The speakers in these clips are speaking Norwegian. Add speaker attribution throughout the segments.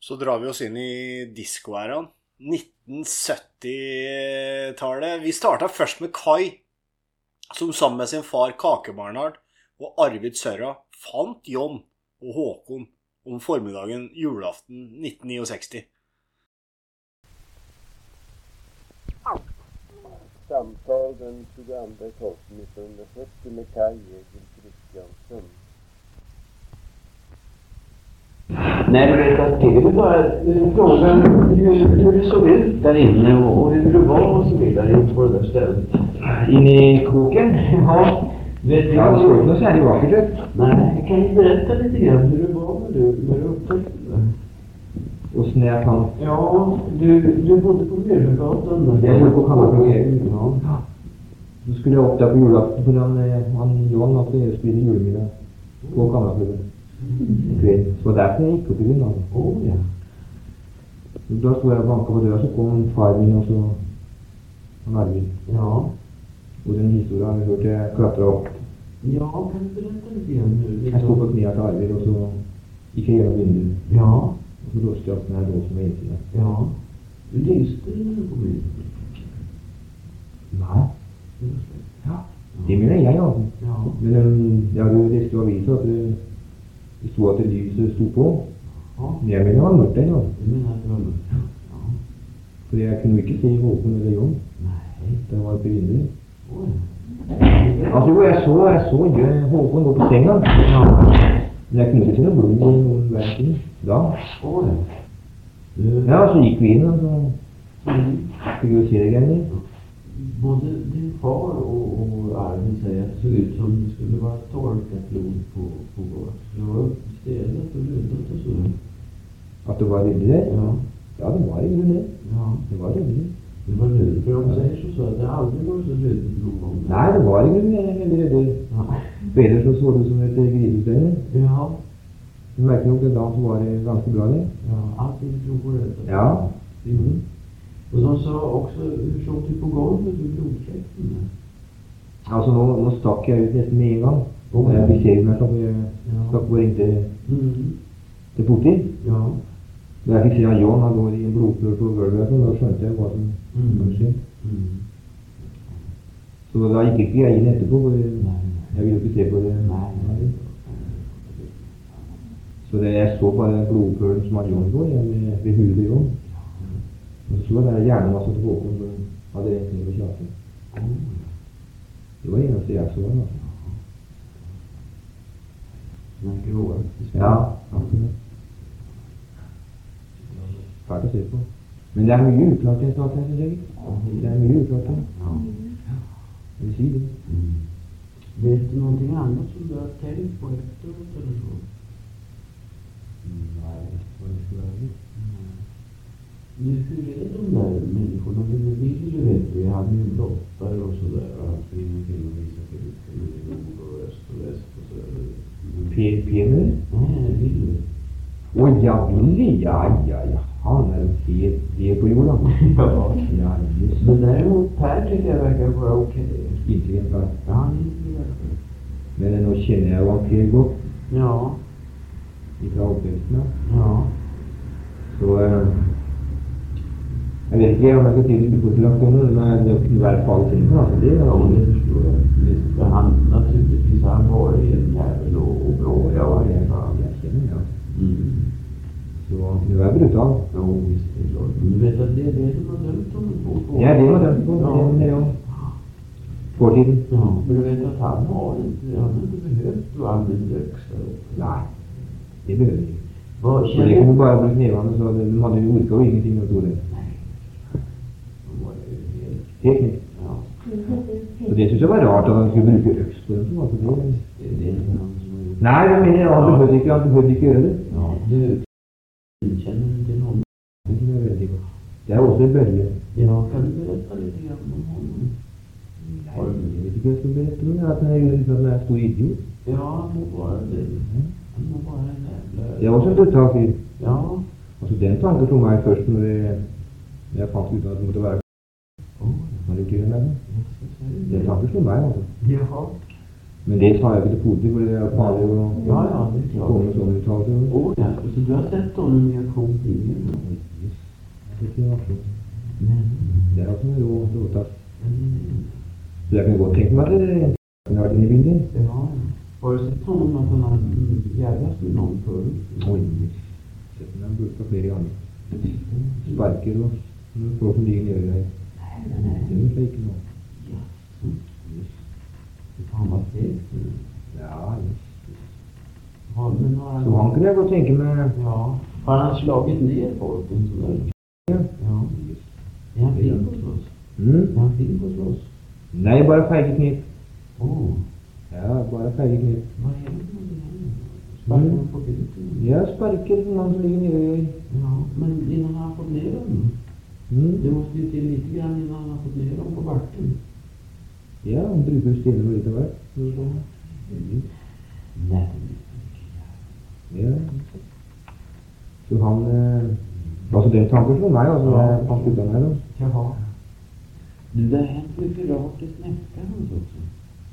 Speaker 1: Så drar vi oss inn i diskoæraen. 1970-tallet. Vi starta først med Kai, som sammen med sin far Kake-Bernhard og Arvid Sørra fant John og Håkon om formiddagen julaften 1969.
Speaker 2: Samtal den 22.12.1970 med Kai Egil Kristiansen.
Speaker 3: Nej, men rätta till det bara. Frågan hur, hur det såg ut där inne och, och hur det var och så vidare på det där stället.
Speaker 4: Inne i kroken?
Speaker 3: Ja, vet du
Speaker 4: Ja, det var
Speaker 3: vad?
Speaker 4: ikke noe særlig vakkert ut.
Speaker 3: Nej, kan du berätta lite grann hur det var när du, när du upptäckte det?
Speaker 4: Åssen jeg fant
Speaker 3: Ja, du, du bodde på Myrhugatan.
Speaker 4: Jeg bodde på Kammarbryggen.
Speaker 3: Ja.
Speaker 4: Så skulle jeg opp der på julaften, for han, eh, han John måtte spise julemiddag på Kammarklubben. Kveld. Så derfor jeg gikk opp i grunnen.
Speaker 3: Oh, ja.
Speaker 4: Da sto jeg og banka på døra, så kom far min og så han Arvid.
Speaker 3: ja.
Speaker 4: Og den historien har jeg hørt jeg klatra opp.
Speaker 3: Ja, kan du berätta lite grann hur
Speaker 4: Jeg sto på knærne til Arvid, og så gikk jeg gjennom vinduet.
Speaker 3: Ja,
Speaker 4: Og så låste jeg opp den her låsen med innsida.
Speaker 3: ja. Du lyste ju när du kom in.
Speaker 4: Nei,
Speaker 3: Du lyste.
Speaker 4: Ja. det mener jeg, altså.
Speaker 3: Ja.
Speaker 4: Men øhm, ja, du leste jo avisa at det, det sto at det lyset sto på.
Speaker 3: ja.
Speaker 4: Men jeg mener det var mørkt der, altså.
Speaker 3: Du menar drömmen? Ja.
Speaker 4: For jeg kunne ikke se Håkon eller John.
Speaker 3: Nej.
Speaker 4: Det var på vinduet.
Speaker 3: Oj.
Speaker 4: Altså jo, jeg så, jeg så Jø- Håkon gå på senga.
Speaker 3: Ja.
Speaker 4: Men jeg kunne ikke se noe blod i noen verden da.
Speaker 3: Oj. Du,
Speaker 4: Ja, så gikk vi inn, og så fikk vi jo se det greiene.
Speaker 3: Både din far och, och Arvid säger att det såg ut som det skulle vara torkat blod på, på golvet. Det var stelat och luddat och sådär.
Speaker 4: At det var ryddig der.
Speaker 3: Ja.
Speaker 4: Ja, det var ryddig der.
Speaker 3: Ja.
Speaker 4: Det var ryddig.
Speaker 3: Det var luddigt. För de säger som så att det aldrig varit så luddigt någon gång.
Speaker 4: Nei, det var ikke noe veldig ryddig.
Speaker 3: Ja.
Speaker 4: For ellers så så det ut som et grisestein.
Speaker 3: Ja.
Speaker 4: Du merker nok at da så var det ganske bra der.
Speaker 3: Ja, allting drog på röda.
Speaker 4: Ja.
Speaker 3: Mm. Och de sa också, hur såg du på golvet vid blodfläkten?
Speaker 4: Altså, nå, nå stakk jeg ut nesten med en gang.
Speaker 3: Oh.
Speaker 4: Jeg beskrev meg som jeg
Speaker 3: Ja.
Speaker 4: stakk bare inntil
Speaker 3: Mm.
Speaker 4: til politi.
Speaker 3: Ja.
Speaker 4: Da jeg fikk se at John han lå i en blodpøl på gulvet, og sånn, da skjønte jeg hva som
Speaker 3: Mm.
Speaker 4: hadde skjedd.
Speaker 3: Mm.
Speaker 4: Så da gikk ikke jeg inn etterpå. for Jeg
Speaker 3: Nej,
Speaker 4: ville ikke se på det.
Speaker 3: nej, nej.
Speaker 4: Så det, jeg så bare den blodpølen som hadde John lå i, ved, ved huet til John. Og så var det hjernemasse til Håkon som hadde rent ned på kjaken.
Speaker 3: Oh.
Speaker 4: Det var det eneste jeg så. Altså.
Speaker 3: Den här gråa.
Speaker 4: Ja, absolutt. Fælt å se på. Men det er mye uklart i en sak her, synes jeg. Det er mye uklart her.
Speaker 3: Ja.
Speaker 4: Jeg vil si det.
Speaker 3: Mm. Vet du någonting annat som du har tänkt på efteråt eller så? Nu, hur är de där människorna? Vi vill ju veta, vi hade ju blottare och sådär. Och han springer omkring och visar filter med nord och öst och väst och sådär. Men-
Speaker 4: Per Pener?
Speaker 3: Nej, vill
Speaker 4: Å ja, Willy. Ja, ja, ja. Han er jo helt ned på jorda.
Speaker 3: du? Ja.
Speaker 4: Ja, jøss.
Speaker 3: Men däremot Per tycker jag verkar vara okej.
Speaker 4: Intelligent kar.
Speaker 3: Ja, han är ju verkligen-
Speaker 4: Men nå kjenner jeg jo han Per godt
Speaker 3: Ja,
Speaker 4: fra oppveksten av.
Speaker 3: ja.
Speaker 4: Så eh, jeg vet ikke om jeg skal si det uforskyldt, men det kunne være falsk. Altså, det er
Speaker 3: Ja,
Speaker 4: jo
Speaker 3: men det förstår jag. Visst, men han, naturligtvis, han var ju en jävel och, och bra. Ja,
Speaker 4: Ja,
Speaker 3: var
Speaker 4: jeg,
Speaker 3: det.
Speaker 4: jeg kjenner ja.
Speaker 3: Mm.
Speaker 4: Så han kunne være brutal.
Speaker 3: Jo, visst, det är klart. Men du vet att det är det de har dömt honom på? på-
Speaker 4: Ja, det var dømt på.
Speaker 3: Ja.
Speaker 4: Det er jo fortiden.
Speaker 3: Ja, men du vet att han har inte, han har inte behövt att använda växter.
Speaker 4: Nei, det behøver vi ikke.
Speaker 3: Vad
Speaker 4: Men det
Speaker 3: känner
Speaker 4: kunne bare brukt nevene, så det- de hadde jo orka jo ingenting å tro det.
Speaker 3: De var ju helt-
Speaker 4: Helt nytt.
Speaker 3: Ja,
Speaker 4: Så det syns jeg var rart at han skulle bruke øks på dem. som Altså det.
Speaker 3: det det är han som har gjort.
Speaker 4: Nei, jeg mener, han behøvde ikke, han behøvde ikke gjøre det.
Speaker 3: Ja, du, känner du till honom?
Speaker 4: Det synes jeg er veldig godt. Det er også en bølge.
Speaker 3: Ja, kan du berätta lite grann om honom?
Speaker 4: Nei, Jeg vet ikke hva jeg skal berette om, jeg, at han er at han er en stor idiot.
Speaker 3: Ja, han må vara det. Han må vara en jävla...
Speaker 4: Det er også en brutal fyr.
Speaker 3: Ja.
Speaker 4: Altså, den tanken slo meg først når jeg, når jeg fant ut at det måtte være
Speaker 3: Oh,
Speaker 4: Når det ikke er med det.
Speaker 3: jag ska säga
Speaker 4: Den tanken slo meg, altså.
Speaker 3: det. Jaha.
Speaker 4: Men det tar jeg ikke til fote, for det er farlig å
Speaker 3: Ja, ja, det er
Speaker 4: komme med
Speaker 3: klart.
Speaker 4: sånne uttalelser.
Speaker 3: Å ja, så du har sett sånne mye kom til igjen?
Speaker 4: Jeg synes det er artig.
Speaker 3: Men,
Speaker 4: Det er altså også en rå råtass.
Speaker 3: men,
Speaker 4: Så jeg kan godt tenke meg at det kunne vært inne i bildet.
Speaker 3: det var jo. Har du sett sånne sånne jævla som noen før?
Speaker 4: Oi. Sett den der burka flere ganger. Sparker og når folk som ligger nede her. Det er ikke noe.
Speaker 3: Faen, hva segt.
Speaker 4: Ja,
Speaker 3: Har- men har han-
Speaker 4: så han kunne jeg godt tenke meg.
Speaker 3: Ja. Har han slagit ner folk? En sån där?
Speaker 4: Ja.
Speaker 3: Ja. Är han fin på att slåss?
Speaker 4: Mm.
Speaker 3: Är han fin på att slåss?
Speaker 4: Nei, bare feige knip.
Speaker 3: Åh,
Speaker 4: Ja, bare feige knip.
Speaker 3: vad är det för någonting? Sparkar han på biten?
Speaker 4: Jeg sparker noen som ligger nede her.
Speaker 3: Ja, men innan han har fått ner dem?
Speaker 4: Mm.
Speaker 3: Det måste ju till lite grann innan han har fått ner dem på backen.
Speaker 4: Ja, han bruker stener og litt av hvert. Mm.
Speaker 3: Nej.
Speaker 4: Ja. Så han eh, Altså, den tanken slo meg, altså.
Speaker 3: Ja.
Speaker 4: Han slutta meg, da.
Speaker 3: Jaha. Du, det har hänt mycket rart i snäckan också.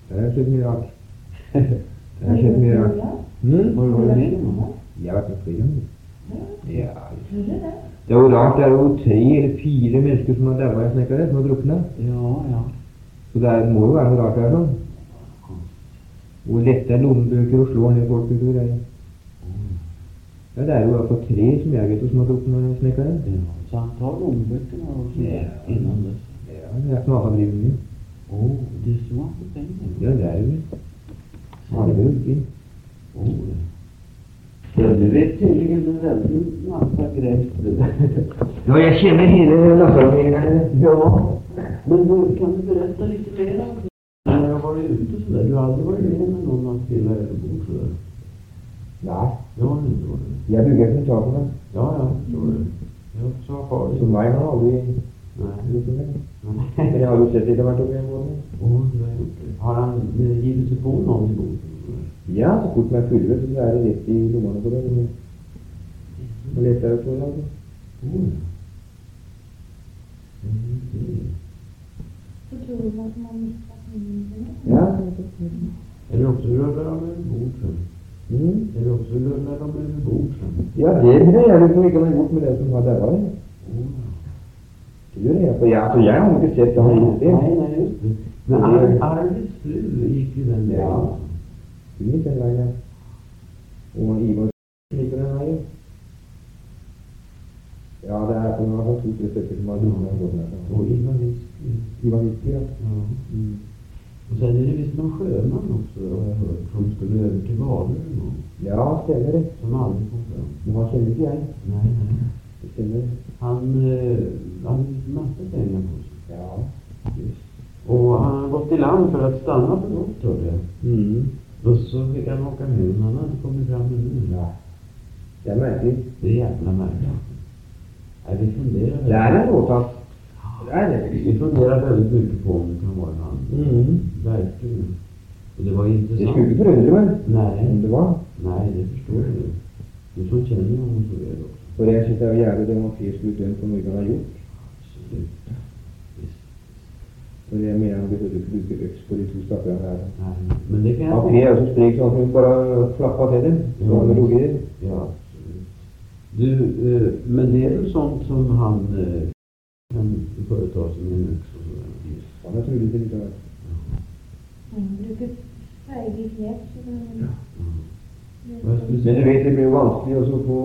Speaker 4: Det har skjedd mye rart. Det har skjedd mye rart. Mm.
Speaker 3: Har du varit med om det?
Speaker 4: Jeg har vært med flere ganger. Ja. Det er jo rart. Det er jo tre eller fire mennesker som har daua i snekkerhet, som har drukna.
Speaker 3: Ja, ja.
Speaker 4: Så det er, må jo være noe rart der, da. Hvor lette er lommebøker og slår ned folk utover her. Ja, det er jo i hvert fall tre som jeg vet om som har drukna i snekkerhet.
Speaker 3: Ja, så han tar lommeböckerna och så
Speaker 4: Ja.
Speaker 3: innan dess.
Speaker 4: Ja, det er ikke noe annet han driver med.
Speaker 3: Åh, det är så han får pengar.
Speaker 4: Ja, det er jo det. Han er jo ikke.
Speaker 3: Åh, ja. Ja, du är tydligen en väldig massa grepp det där.
Speaker 4: Ja, jeg kjenner hele Lassaromgjengen.
Speaker 3: Ja, men du, kan du berätta lite mer om det? När jag var ute och sådär, du har aldrig varit med med någon att spela överbord sådär?
Speaker 4: Nei,
Speaker 3: Jag har inte varit med.
Speaker 4: jeg bruker ikke ta på meg.
Speaker 3: Ja, ja, jag förstår det. Jag sa
Speaker 4: Så
Speaker 3: farligt.
Speaker 4: meg har aldri
Speaker 3: Nej.
Speaker 4: gjort det. Men
Speaker 3: Nej.
Speaker 4: jeg har jo sett litt av hvert opp igjen måten.
Speaker 3: Åh, du har gjort det. Har han eh, givit sig på någon i bordet?
Speaker 4: Ja, så fort meg fullvett, så er det rett i lommene på den. Og leter jeg på det, altså.
Speaker 3: Åh, ja. Mm, det är-
Speaker 5: Så tror de at man mister pengene.
Speaker 4: Ja.
Speaker 3: Eller också rullar de över bord sen.
Speaker 4: Mm.
Speaker 3: Eller också rullar de över bord sen.
Speaker 4: Ja, det bryr jeg liksom ikke meg bort med den som har daua. jeg. Det gjør jeg, for jeg, altså, jeg har ikke sett han gjort det.
Speaker 3: Nej, nej, just det. Men Ar Arvids fru gick ju den vägen.
Speaker 4: Ja. Hun gikk den veien. ja. Og Ivar gikk den veien. Ja, det er på hvert fall to-tre stykker som har drukket den båten. her.
Speaker 3: Och Ivar Whisky.
Speaker 4: Og Ivar Whisky, ja.
Speaker 3: Ja. mm. Och sen är det visst någon sjöman också, har jag hört, som skulle över till Valö en gång.
Speaker 4: Ja, stemmer det.
Speaker 3: Som aldrig kom fram.
Speaker 4: Men han kjenner ikke jeg.
Speaker 3: Nej, nej.
Speaker 4: Det stemmer.
Speaker 3: Han eh, hade eh, massa pengar på sig.
Speaker 4: Ja.
Speaker 3: Och han hade gått i land för att stanna på något, hörde jag.
Speaker 4: Mm.
Speaker 3: Och så fick han åka hem, han hade kommit fram ännu.
Speaker 4: Nei. Det er merkelig.
Speaker 3: Det är jävla märkligt. Nej, vi funderar
Speaker 4: Det er en
Speaker 3: väldigt,
Speaker 4: råtass. Det er det.
Speaker 3: vi funderar väldigt mycket på om det kan vara han.
Speaker 4: Mm.
Speaker 3: Hmm. Verkligen. Och det var
Speaker 4: Det skulle
Speaker 3: intressant.
Speaker 4: ikke forundre meg om
Speaker 3: Nej,
Speaker 4: det var.
Speaker 3: nej, det förstår jag. Du som känner ju honom så väl också.
Speaker 4: For jeg synes det er jævlig det man fyr skulle dømt for noe han har gjort.
Speaker 3: Absolut. Visst.
Speaker 4: For jeg mener han burde ikke bruke øks på de to stakkerne her.
Speaker 3: Nej, men det kan
Speaker 4: Ja, Mm.
Speaker 3: jag
Speaker 4: Per er jo så sprek så han kunne sånn bare slappe av til det. Så han roer det.
Speaker 3: Ja, absolut. Du, eh, men det är väl sånt som han eh, kan företa sig med en yxa och sådär.
Speaker 4: Han er trolig til litt av hvert.
Speaker 5: Bruker feige knep. så det-
Speaker 3: Vad jag skulle
Speaker 4: Men du
Speaker 3: säga?
Speaker 4: vet, det blir jo vanskelig også å få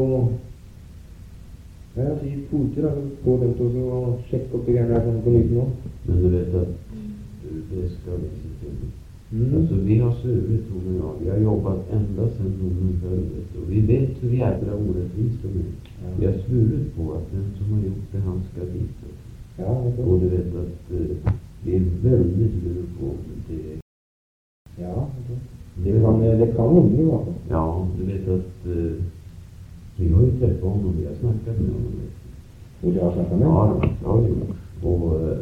Speaker 4: ja, altså, gi kvoter. da. Få dem til også å sjekke opp det greiene der sånn på nytt nå.
Speaker 3: Men du vet att eh, det ska vi se till.
Speaker 4: Mm.
Speaker 3: Alltså, vi har surit, hon och jag. Vi har jobbat ända sedan domen följdes. Och vi vet hur jävla orättvist de är. Vi
Speaker 4: Ja,
Speaker 3: har svurit på att den som har gjort det, han ska dit.
Speaker 4: ja, vet
Speaker 3: Och
Speaker 4: du.
Speaker 3: du vet att eh, vi är väldigt lur på om det.
Speaker 4: ja vet du. det kan det kan hende, i hvert fall.
Speaker 3: Ja, du vet att eh, vi har ju träffat honom, vi har snackat med honom.
Speaker 4: Og det har jeg snakket med.
Speaker 3: Ja, det har vi gjort. Och eh,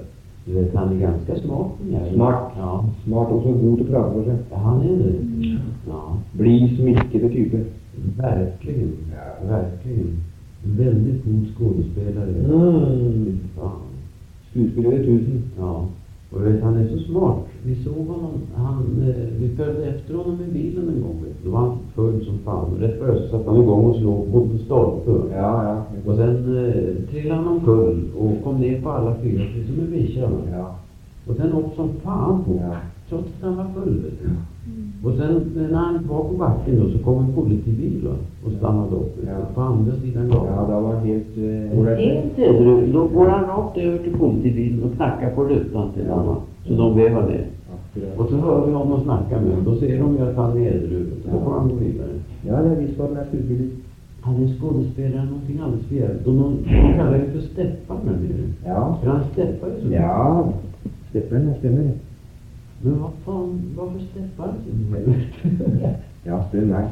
Speaker 3: du vet, han är ganska smart den jäveln.
Speaker 4: Smart.
Speaker 3: Ja,
Speaker 4: Smart også god til å prate for seg.
Speaker 3: Ja, han är det.
Speaker 5: Mm.
Speaker 3: Ja,
Speaker 4: Blid, smiskete type.
Speaker 3: verkligen. Verkligen. En väldigt god skådespelare.
Speaker 4: Mm.
Speaker 3: Fan.
Speaker 4: Skuespiller i tusen.
Speaker 3: Ja. Och vet, han är så smart. Vi såg honom, han, eh, vi följde efter honom med bilen en gång. vet du. Då var han full som fan. Och rätt vad det var så satte han igång och slog mot en stolpe.
Speaker 4: Ja, ja.
Speaker 3: Och sen eh, trillade han omkull och kom ner på alla fyra, precis som en bikkja. va.
Speaker 4: Ja.
Speaker 3: Och sen åkte som fan på.
Speaker 4: Ja.
Speaker 3: Trots att han var full. vet du. Och sen eh, när han var på backen då, så kom en politibil va, och stannade upp vet du,
Speaker 4: Ja.
Speaker 3: på andra sidan gatan.
Speaker 4: Ja, det var helt... Eh,
Speaker 3: Helt över, då går han rakt över till politibilen och knackar på rutan till honom. Så de vevar ner.
Speaker 4: akkurat.
Speaker 3: Och så hör vi honom snacka med honom. Då ser de ju att han är nedruven. Så då får han gå vidare.
Speaker 4: Ja, det visst var det naturligtvis.
Speaker 3: Han är skådespelare, någonting alldeles förjävligt. Och någon, de kallar ju för Steppan nu.
Speaker 4: Ja.
Speaker 3: För han steppar ju så mycket.
Speaker 4: Ja. Steppen, det stämmer det.
Speaker 3: Men vad fan, varför steppar han så mycket?
Speaker 4: Ja, det är nice.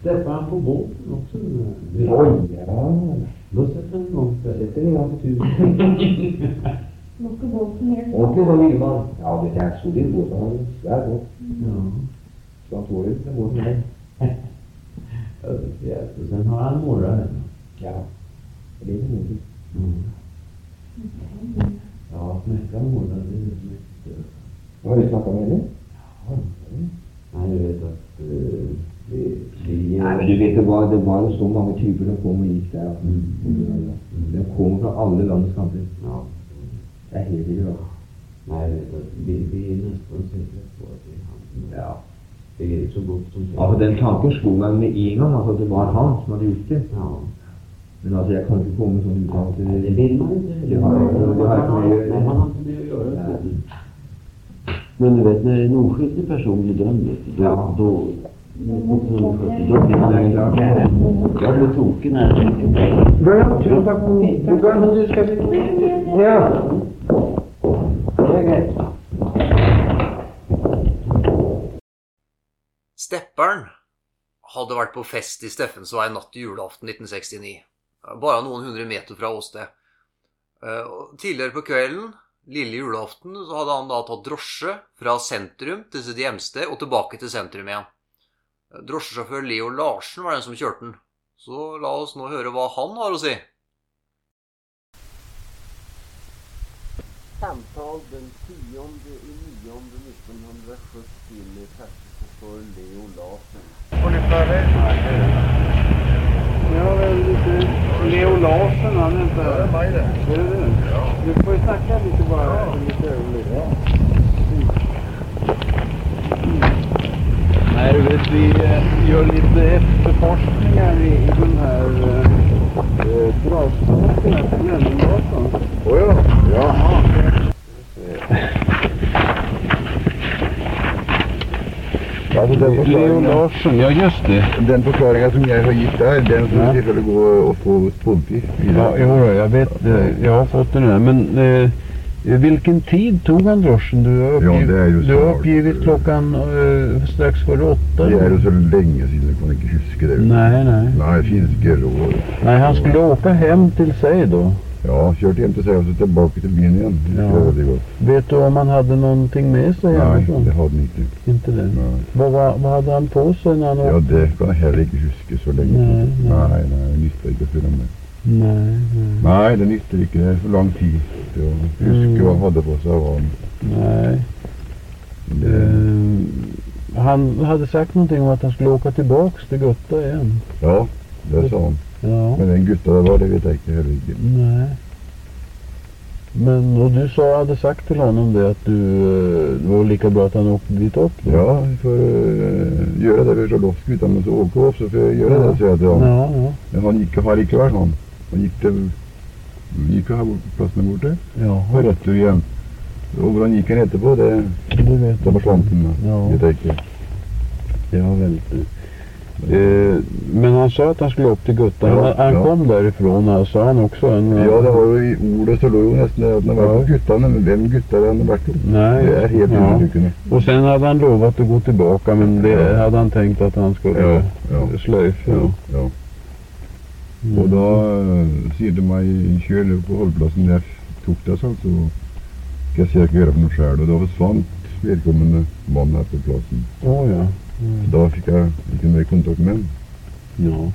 Speaker 3: Steppar han på båten också? nu?
Speaker 4: Oj! Ja.
Speaker 3: Då sätter han igång spelet.
Speaker 4: Sätter ni igång för tusen.
Speaker 5: Måste båten ner.
Speaker 4: Ordentlig sån villman. Ja, det är en solid båt. Han är svär båt.
Speaker 3: Ja.
Speaker 4: Så han tål ut den båten här.
Speaker 3: Ja, det är förjävligt. Och sen har han morraren.
Speaker 4: Ja. Det är modigt.
Speaker 3: Mm. Ja, snacka om ordnar, det är så mycket.
Speaker 4: Vad har du snackat med henne?
Speaker 3: Nej, du vet att eh, det blir...
Speaker 4: Nej, men du vet, det var, det var så många typer som kom och gick der.
Speaker 3: Mm.
Speaker 4: De kom fra alle landets kanter.
Speaker 3: Ja.
Speaker 4: Det er helt vildt. altså.
Speaker 3: Nej, du vet att vi, vi är nästan säkra på att det är han.
Speaker 4: Ja.
Speaker 3: Det är så gott som säkert.
Speaker 4: Altså, den tanken slo meg med en gang, altså, at det var han som hadde gjort det.
Speaker 3: Ja.
Speaker 4: Men altså, jeg kan ikke komme med sånn
Speaker 3: Men det
Speaker 4: uttalelse.
Speaker 3: vill man inte.
Speaker 4: Det har jag- det har jag
Speaker 3: man,
Speaker 4: kunnat göra.
Speaker 3: man har inte med att göra.
Speaker 4: Nej.
Speaker 3: så. Men du vet, när en oskyldig person blir dömd, vet du, då...
Speaker 4: Ja.
Speaker 3: då då blir man
Speaker 4: Det är klart.
Speaker 3: Jag blir tokig när jag tänker på det.
Speaker 4: Bjørn, tusen takk for meg. Bjørn, du skal Ja. Det er greit.
Speaker 6: Stepperen hadde vært på fest i Steffensvei natt til julaften 1969. Bare noen hundre meter fra åsted. Eh, og Tidligere på kvelden, lille julaften, så hadde han da tatt drosje fra sentrum til sitt hjemsted og tilbake til sentrum igjen. Eh, Drosjesjåfør Leo Larsen var den som kjørte den. Så la oss nå høre hva han har å si.
Speaker 2: Samtal den 10 i 9 1970 med taxichaufför Leo Larsson.
Speaker 7: Ja, väl, lite Leo Larsson, han är inte här. Det är mig det. Är det du? Ja. Du får ju snacka lite bara. Ja. Lite ögonblick. Ja. Nej, du vet, vi eh, gör lite efterforskningar i, i den här eh, dragstråken här på Lönngatan. Oh, ja. ja. Leo Larsson, ja just det.
Speaker 8: Den forklaringa som jeg har gitt der, den som
Speaker 7: Ja.
Speaker 8: selvfølgelig gå opp på politi.
Speaker 7: Ja, jo, då, jag vet, eh, jag har fått den här, men eh, vilken tid tog han ruschen? Du har
Speaker 8: Ja, det är ju
Speaker 7: uppgivit, du har
Speaker 8: snart,
Speaker 7: uppgivit
Speaker 8: eh,
Speaker 7: klockan eh, strax före åtta.
Speaker 8: Det er jo så lenge siden jeg kan ikke huske det.
Speaker 7: Nej, nej.
Speaker 8: Nei, finske råd.
Speaker 7: Nej, han skulle åka hem till sig då.
Speaker 8: Ja, kjørte hjem til seg og så tilbake til byen igjen. Det
Speaker 7: Ja.
Speaker 8: var veldig godt.
Speaker 7: Vet du om han hade någonting med sig
Speaker 8: Nei,
Speaker 7: hemifrån?
Speaker 8: det hadde han ikke.
Speaker 7: Inte det.
Speaker 8: Nei.
Speaker 7: Vad, vad, vad hade han på sig när han åkte?
Speaker 8: Ja, det kan jeg heller ikke huske så lenge.
Speaker 7: Nei, nei.
Speaker 8: nei, nei det nytter ikke å spørre om det.
Speaker 7: Nej, nej,
Speaker 8: Nei, det nytter ikke. Det er for lang tid til å
Speaker 7: Mm.
Speaker 8: huske hva han hadde på seg. og Hva han,
Speaker 7: nej.
Speaker 8: det,
Speaker 7: Eh, han hade sagt någonting om att han skulle åka tillbaks till Gutta igen.
Speaker 8: ja, det sa han.
Speaker 7: Ja.
Speaker 8: Men den gutta det var, det vet jeg ikke heller ikke.
Speaker 7: Nej. Men och du sa, hade sagt till honom det att du, eh, det var lika bra att han åkte dit upp? då?
Speaker 8: Ja, vi får øh, gjøre det. Vi slår loss gutta mens vi åker opp, så får jeg gjøre det, sier jeg til han.
Speaker 7: Ja, ja.
Speaker 8: Men han gikk her i kveld, han. Han gikk til gikk jo her bort, plassen der borte.
Speaker 7: Jaha,
Speaker 8: Og rett tur igjen. Og hvor han gikk igjen etterpå, det,
Speaker 7: det vet
Speaker 8: det forsvant han. da.
Speaker 7: Ja.
Speaker 8: Vet jeg ikke.
Speaker 7: Ja, väl. Eh, men han sa att han skulle upp till Gutta.
Speaker 8: Ja,
Speaker 7: han han
Speaker 8: ja.
Speaker 7: kom därifrån, här, sa han också. En,
Speaker 8: Ja, det var jo i ordet så lå jo nesten det at han har vært hos guttene. Men hvem gutta er det han har vært hos?
Speaker 7: Nej.
Speaker 8: Det er helt
Speaker 7: ja.
Speaker 8: utelukkende.
Speaker 7: Och sen hade han lovat att gå tillbaka, men det
Speaker 8: Ja.
Speaker 7: hade han tänkt att han skulle
Speaker 8: Ja, ja.
Speaker 7: slöjf.
Speaker 8: Ja,
Speaker 7: Ja.
Speaker 8: ja. Og da øh, sier de meg kjør ned på holdeplassen der jeg tok deg, sånn, så skal jeg se hva jeg kan gjøre for noe sjøl. Og da forsvant vedkommende mann her på plassen.
Speaker 7: Åh, ja.
Speaker 8: Da fikk jeg ikke mer kontakt med ham.
Speaker 7: ja.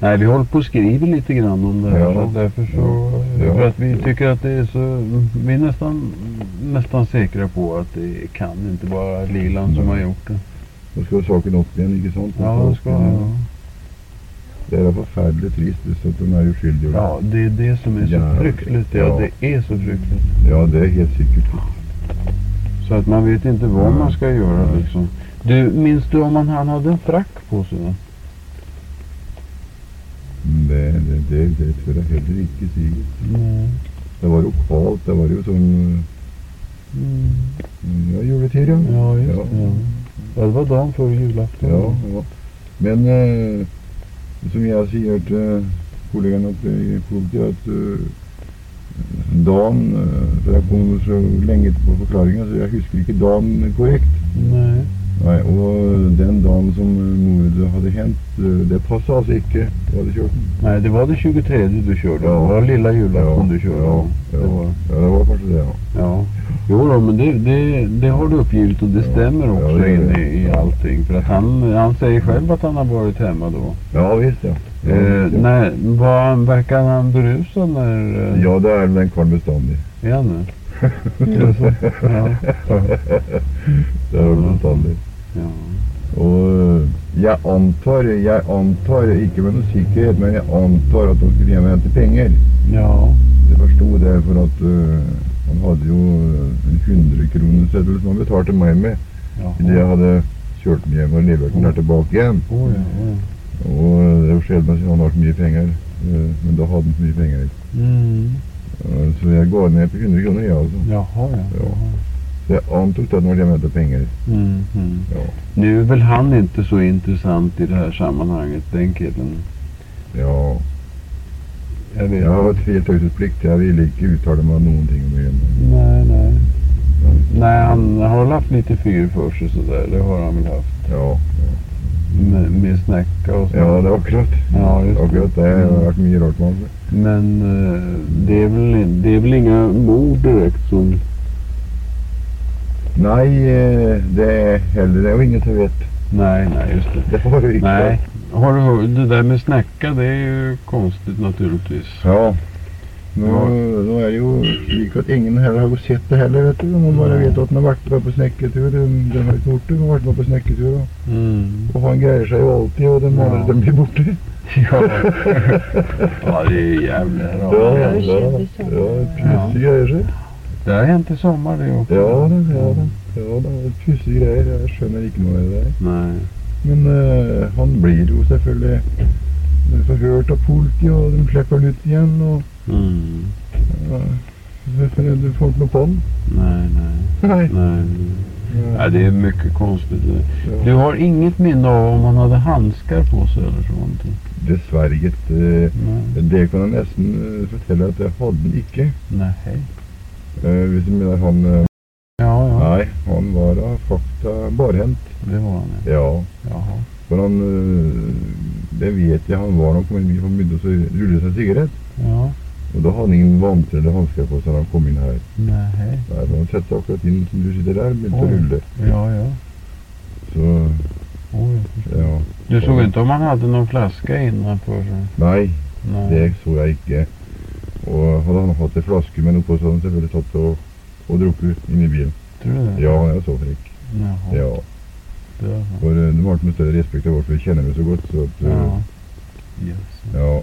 Speaker 3: Nej, vi håller på och skriver lite grann om det här.
Speaker 8: Ja.
Speaker 3: så därför så,
Speaker 8: Ja.
Speaker 3: För att vi tycker att det är så... Vi är nästan, nästan säkra på att det kan inte vara Lilan som
Speaker 8: Nej.
Speaker 3: har gjort det.
Speaker 8: Nå skal saken opp igjen, ikke sant?
Speaker 3: Ja, det, ska, ja.
Speaker 8: Det er da forferdelig trist hvis at hun er uskyldig.
Speaker 3: ja, det är det som är så
Speaker 8: Ja.
Speaker 3: fruktligt. Ja,
Speaker 8: Ja.
Speaker 3: det är så fruktligt.
Speaker 8: ja, det er helt sikkert.
Speaker 3: Så att man vet inte vad
Speaker 8: Nej.
Speaker 3: man ska göra
Speaker 8: Nej.
Speaker 3: liksom. Du, minns du om han, han hade en frack på sig? va?
Speaker 8: Men Det, det, det, det tror jeg heller ikke sier. Det var jo kvalt, det var jo sånn
Speaker 3: Mm.
Speaker 8: mm, ja, juletid, ja.
Speaker 3: Ja, just
Speaker 8: Ja.
Speaker 3: det. Ja. Ja, det var dagen före julafton.
Speaker 8: Ja, ja. Men eh, som jeg sier til kollegaen at i politiet at eh, dagen eh, For jeg kom så lenge på forklaringa, så jeg husker ikke dagen korrekt.
Speaker 3: Nej.
Speaker 8: Nei, Og den dagen som mordet hadde hendt, eh, det passa altså ikke. Jeg hadde kjørt den.
Speaker 3: Nej, det var den 23 du körde.
Speaker 8: Ja.
Speaker 3: Det var lilla julafton du körde.
Speaker 8: Ja, ja,
Speaker 3: Det var,
Speaker 8: ja, det var kanskje det, ja.
Speaker 3: ja. Jo då, men det, det, det har du uppgivit och det
Speaker 8: Ja.
Speaker 3: stämmer
Speaker 8: Ja,
Speaker 3: också
Speaker 8: det gör
Speaker 3: in
Speaker 8: det.
Speaker 3: i, i allting. För att han, han säger själv att han har varit hemma då.
Speaker 8: Ja visst, ja. Ja,
Speaker 3: Eh,
Speaker 8: visst, ja.
Speaker 3: när, var han, verkar han berusad när... eh,
Speaker 8: ja det er vel en kvalm bestandig.
Speaker 3: Är han det? Är det så? Ja.
Speaker 8: Det er vel bestandig.
Speaker 3: ja.
Speaker 8: Og jeg antar, jeg antar, ikke med noe sikkerhet, men jeg antar at han skulle hjem og hente penger.
Speaker 3: Ja.
Speaker 8: Jeg forsto det, for at øh, han hadde jo en 100-kroneseddel som han betalte meg med
Speaker 3: Ja.
Speaker 8: idet jeg hadde kjørt den hjem og levert den der tilbake igjen.
Speaker 3: Oh, ja, ja.
Speaker 8: Og det var sjelden siden han har så mye penger, øh, men da hadde han så mye penger.
Speaker 3: Mm.
Speaker 8: Øh, Så jeg går ned på 100 kroner, jeg altså.
Speaker 3: Jaha, ja.
Speaker 8: Ja. Så jeg antok det når de hentet penger.
Speaker 3: Mm, mm.
Speaker 8: Ja.
Speaker 3: Nu är väl han inte så intressant i det här sammanhanget, den killen.
Speaker 8: Ja,
Speaker 3: Jag vet
Speaker 8: jeg har et helt taushetsplikt. Jeg ville ikke uttale meg om noen ting om det.
Speaker 3: Nej, nej. Nej, han har väl haft lite fyr för sig sådär. Det har han väl haft.
Speaker 8: Ja.
Speaker 3: Med, med snacka och sånt.
Speaker 8: Ja, det er akkurat.
Speaker 3: sånn. Ja, just det.
Speaker 8: akkurat. Det har vært mye rart med han.
Speaker 3: Men eh, det, är väl, det är väl inga mord direkt som...
Speaker 8: Nei, eh, det er heller det er jo ingen som vet.
Speaker 3: Nej, nej, just det.
Speaker 8: Det har du ikke.
Speaker 3: Nej. Har du, hört- det där med snacka, det är ju konstigt naturligtvis.
Speaker 8: Ja. Nå, nå er det jo slik at ingen heller har jo sett det heller, vet du. Man bare vet at den har vært med på snekketur. Den, den har ikke gjort det, men har vært med på snekketur. Og,
Speaker 3: Mm.
Speaker 8: og han greier seg jo alltid, og den
Speaker 3: Ja.
Speaker 8: andre den blir borte.
Speaker 3: Ja. ja, det er jævlig rart.
Speaker 8: Ja,
Speaker 5: det
Speaker 8: ja,
Speaker 5: er jo
Speaker 8: ja.
Speaker 5: kjent i sommer.
Speaker 8: Pussige greier seg.
Speaker 3: Det har hendt i sommer, det òg.
Speaker 8: Ja da, ja da. Ja, da. Pussige greier. Jeg skjønner ikke noe av det der.
Speaker 3: Nei.
Speaker 8: Men eh, han blir jo selvfølgelig forhørt av politiet, og de slipper han ut igjen. og
Speaker 3: Mm.
Speaker 8: uh, Du får ikke noe på han.
Speaker 3: Nei, nei,
Speaker 8: Nei.
Speaker 3: nei. Nei, det är mycket konstigt. det.
Speaker 8: Ja.
Speaker 3: Du har inget minne av om han hade handskar på sig eller så någonting?
Speaker 8: Dessverre, gitt. eh,
Speaker 3: Nej.
Speaker 8: Det kan jeg nesten eh, fortelle at jeg hadde den ikke.
Speaker 3: Nej.
Speaker 8: Eh, Hvis du mener han eh,
Speaker 3: Ja, ja,
Speaker 8: Nei, han var av fakta barhendt.
Speaker 3: det var han. ja.
Speaker 8: Ja.
Speaker 3: Jaha.
Speaker 8: For han eh, Det vet jeg han var når han kom inn i bilen, for han begynte å rulle seg en sigarett.
Speaker 3: Ja.
Speaker 8: Og da hadde han ingen vanter eller hansker på seg da han kom inn her.
Speaker 3: Nej.
Speaker 8: Nei, men Han satte seg akkurat inn som du sitter der, begynte
Speaker 3: Oi.
Speaker 8: å rulle.
Speaker 3: Ja, ja.
Speaker 8: Så
Speaker 3: Oj.
Speaker 8: ja.
Speaker 3: Du såg inte om han hade någon flaska innanför sig?
Speaker 8: Nei,
Speaker 3: Nej.
Speaker 8: Det så jeg ikke. Og hadde han hatt ei flaske med noe på, så hadde han selvfølgelig tatt det og, og drukket inn i bilen.
Speaker 3: Tror du det?
Speaker 8: Ja, han er så frekk.
Speaker 3: Jaha.
Speaker 8: Ja.
Speaker 3: Det var han.
Speaker 8: For eh, de har ikke noe større respekt av oss, for vi kjenner dem så godt. Så at, eh,
Speaker 3: Ja. Yes.
Speaker 8: ja.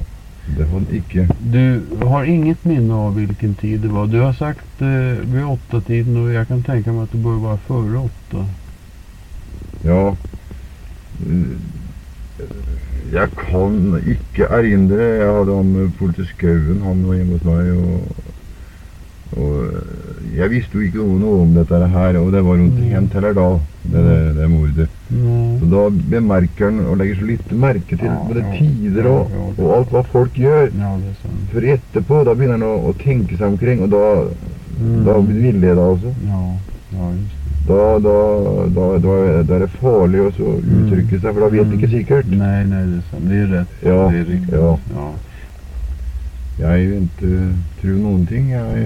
Speaker 8: Det hadde han ikke.
Speaker 3: Du har inget minne av vilken tid det var. Du har sagt eh, vid åtta tiden och jag kan tänka mig att det bör vara före åtta.
Speaker 8: Ja. Eh, Jeg kan ikke erindre. Jeg hadde han eh, politi Skauen, han var hjemme hos meg. og... Og eh, Jeg visste jo ikke noe om dette her, og det var jo ikke hendt heller da, det, det, det mordet.
Speaker 3: Nej.
Speaker 8: Så da bemerker han og legger så lite merke til
Speaker 3: Ja,
Speaker 8: både
Speaker 3: ja.
Speaker 8: tider og,
Speaker 3: Ja, ja.
Speaker 8: og alt hva folk gjør.
Speaker 3: Ja, det är sant.
Speaker 8: For etterpå da begynner han å, å tenke seg omkring, og da,
Speaker 3: Mm.
Speaker 8: da blir han villeda også.
Speaker 3: Ja, ja just
Speaker 8: Da, da, da, da, er- da er det farlig å så
Speaker 3: Mm.
Speaker 8: uttrykke seg, for da vet han ikke
Speaker 3: det.
Speaker 8: sikkert.
Speaker 3: Nej, nej, det är sant. Det är rätt.
Speaker 8: Ja,
Speaker 3: Mm. det är riktigt.
Speaker 8: ja.
Speaker 3: Ja. Mm.
Speaker 8: Jeg vil ikke tro noen eh, ting. Jeg,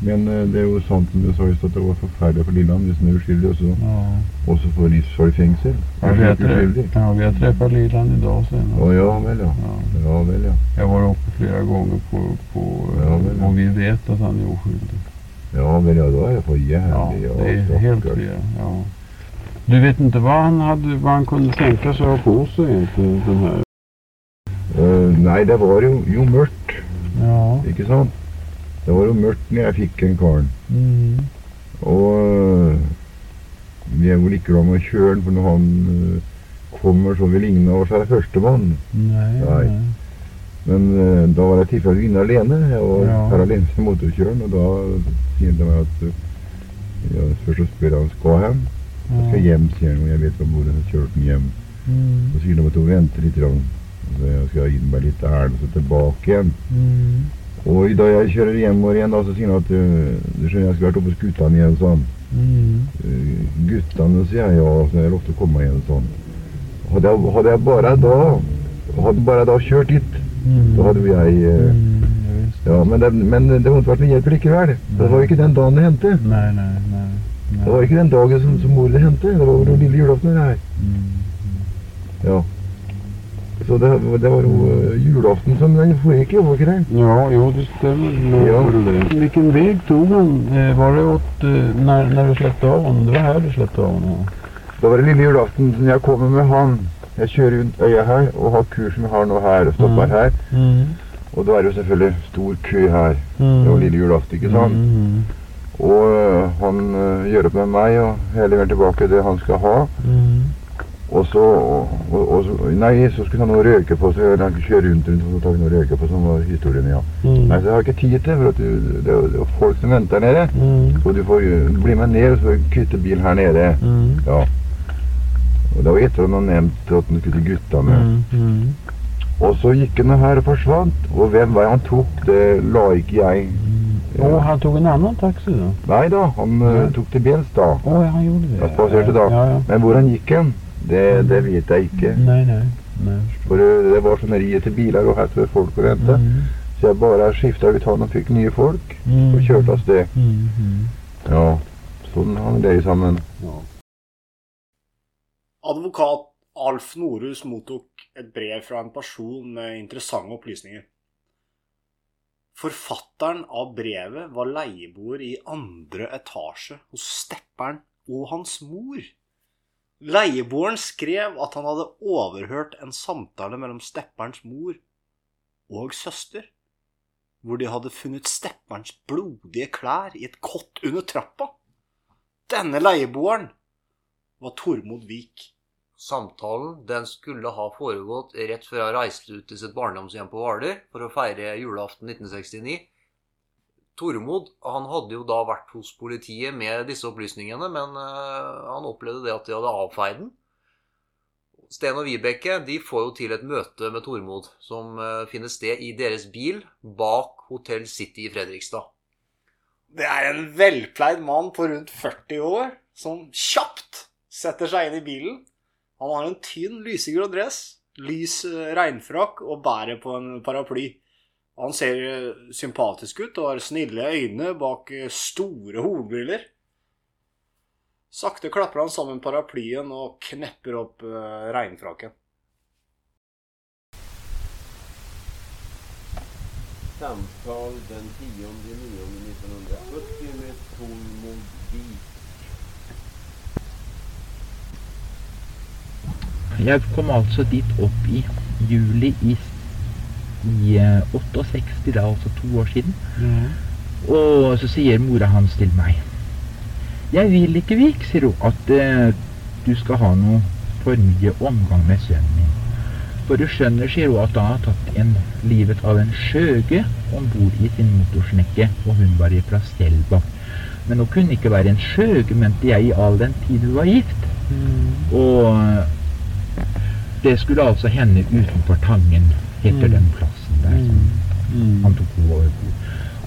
Speaker 8: Men eh, det er jo sant som du sa i stad, at det var forferdelig for Lilland hvis han er uskyldig, og så-
Speaker 9: Ja.
Speaker 8: og så får livsfarlig fengsel.
Speaker 9: Ja,
Speaker 8: Er
Speaker 9: vi, har
Speaker 8: han
Speaker 9: träff-
Speaker 8: uskyldig?
Speaker 9: ja, vi har träffat Liland idag senast.
Speaker 8: Å ja vel, ja.
Speaker 9: Ja.
Speaker 8: Ja vel, ja.
Speaker 9: Jag var uppe flera gånger på, på,
Speaker 8: Ja, men-
Speaker 9: och vi vet att han är oskyldig.
Speaker 8: Ja vel, ja. Da er det for
Speaker 9: Ja,
Speaker 8: jævlig.
Speaker 9: det är helt
Speaker 8: stakkars.
Speaker 9: fel. Ja. Du vet inte vad han, hade, vad han kunde tänka sig ha på sig egentligen, den här?
Speaker 8: Eh, nei, det var jo, jo mørkt,
Speaker 9: Ja.
Speaker 8: ikke sant? Det var jo mørkt når jeg fikk den karen.
Speaker 9: Mm.
Speaker 8: Og øh, vi er vel ikke glad med å kjøre den, for når han øh, kommer så vil ingen av oss være førstemann.
Speaker 9: Nej,
Speaker 8: Nej.
Speaker 9: nej.
Speaker 8: Men øh, da var jeg tilfeldigvis inne alene. Jeg var
Speaker 9: Ja.
Speaker 8: her alene med motorkjøren, og da sier han meg at øh, ja, Først så spør han skal hjem. Jeg skal
Speaker 9: Ja.
Speaker 8: hjem, sier han, og jeg vet hvor han bor, og så kjører han hjem.
Speaker 9: Mm.
Speaker 8: Så sier han at hun venter litt. grann. Så jeg skal gi meg litt ærend, og så tilbake igjen.
Speaker 9: Mm.
Speaker 8: Og i dag jeg kjører hjemover igjen, da, så sier han at øh, du skjønner, jeg skulle vært oppe hos guttene igjen, sa han.
Speaker 9: Mm.
Speaker 8: Eh, guttene, sier jeg, og så er det ofte å komme igjen sånn. Hadde jeg, hadde jeg bare da hadde bare da kjørt dit,
Speaker 9: Mm.
Speaker 8: da hadde jo jeg eh,
Speaker 9: Mm. Ja, visst.
Speaker 8: ja, men, det, men det måtte vært noe hjelp likevel. for Det var jo ikke den dagen det hendte.
Speaker 9: Nej, nej, nej.
Speaker 8: Det var ikke den dagen som, som mordet hendte. Det var jo lille julaften. det her.
Speaker 9: Mm.
Speaker 8: Så det, det var jo eh, julaften som den foregikk, jo, var ikke det?
Speaker 9: Ja, jo, det stämmer. Nu
Speaker 8: Ja.
Speaker 9: var det det. Vilken väg tog han? Eh, var det åt, eh, när, när du släppte av honom? Det var här du släppte av honom?
Speaker 8: Da var det lille julaften som jeg kommer med han. Jeg kjører rundt øya her og har kurs med har nå her. og Stopper
Speaker 9: Mm.
Speaker 8: her.
Speaker 9: Mm.
Speaker 8: Og da er det jo selvfølgelig stor kø her.
Speaker 9: Mm.
Speaker 8: Det var lille julaften, ikke sant?
Speaker 9: Mm.
Speaker 8: Og øh, han øh, gjør opp med meg, og jeg leverer tilbake det han skal ha.
Speaker 9: Mm.
Speaker 8: Og så, og, og, og så Nei, så skulle han ha noe røyke på, så han kunne kjøre rundt rundt og så tar vi noe røyke på. Sånn var historien, ja.
Speaker 9: Mm.
Speaker 8: Nei, så jeg har ikke tid til for at du, det er jo- det er jo folk som venter her nede.
Speaker 9: Mm.
Speaker 8: Så du får øh, bli med ned, og så får vi kvitte bilen her nede.
Speaker 9: Mm.
Speaker 8: Og det var etter at han hadde nevnt at han skulle til guttene.
Speaker 9: Mm. Mm.
Speaker 8: Og så gikk han her og forsvant. Og hvem vei han tok, det la ikke jeg
Speaker 9: Och mm. han tog en annan taxi då?
Speaker 8: Nei da, han øh,
Speaker 9: Nei.
Speaker 8: tok til bens da.
Speaker 9: Åh, ja, han gjorde det.
Speaker 8: Jag spasserade då.
Speaker 9: Ja, ja.
Speaker 8: Men hvor han gikk hen, det, det vet jeg ikke.
Speaker 9: Nej, nej. nej.
Speaker 8: For eh, det var sånn riet til biler og her til folk å vente.
Speaker 9: Mm.
Speaker 8: Så jeg bare skifta ut han og fikk nye folk,
Speaker 9: Mm.
Speaker 8: og
Speaker 3: Mhm.
Speaker 8: kjørte av sted.
Speaker 9: Mm. Mm.
Speaker 8: Ja, sånn hang det sammen.
Speaker 1: Advokat Alf Norhus mottok et brev fra en person med interessante opplysninger. Forfatteren av brevet var leieboer i andre etasje hos stepperen og hans mor. Leieboeren skrev at han hadde overhørt en samtale mellom stepperens mor og søster, hvor de hadde funnet stepperens blodige klær i et kott under trappa. Denne leieboeren var Tormod Vik.
Speaker 6: Samtalen den skulle ha foregått rett før han reiste ut til sitt barndomshjem på Hvaler for å feire julaften 1969. Tormod han hadde jo da vært hos politiet med disse opplysningene, men eh, han opplevde det at de hadde avfeid den. Sten og Vibeke de får jo til et møte med Tormod, som eh, finner sted i deres bil bak Hotell City i Fredrikstad.
Speaker 1: Det er en velpleid mann på rundt 40 år som kjapt setter seg inn i bilen. Han har en tynn lysegrå dress, lys eh, regnfrakk og bærer på en paraply. Han ser eh, sympatisk ut og har snille øyne bak eh, store hornbriller. Sakte klapper han sammen paraplyen og knepper opp eh, regnfrakken.
Speaker 2: Samtal den 10 9 1970 med Tormod Vik.
Speaker 10: Jeg kom altså dit opp i juli i, i eh, 68, det er altså to år siden.
Speaker 9: Ja.
Speaker 10: Og så sier mora hans til meg Jeg vil ikke, Vik, sier hun, at eh, du skal ha noe for mye omgang med sønnen min. For du skjønner, sier hun, at han har tatt en, livet av en skjøge om bord i sin motorsnekke, og hun var fra Stelba. Men hun kunne ikke være en skjøge, mente jeg, i all den tid hun var gift.
Speaker 3: Hmm.
Speaker 10: Og eh, det skulle altså hende utenfor Tangen, heter
Speaker 9: Mm.
Speaker 10: den plassen der. som
Speaker 9: Mm.
Speaker 10: han tok henne over bord.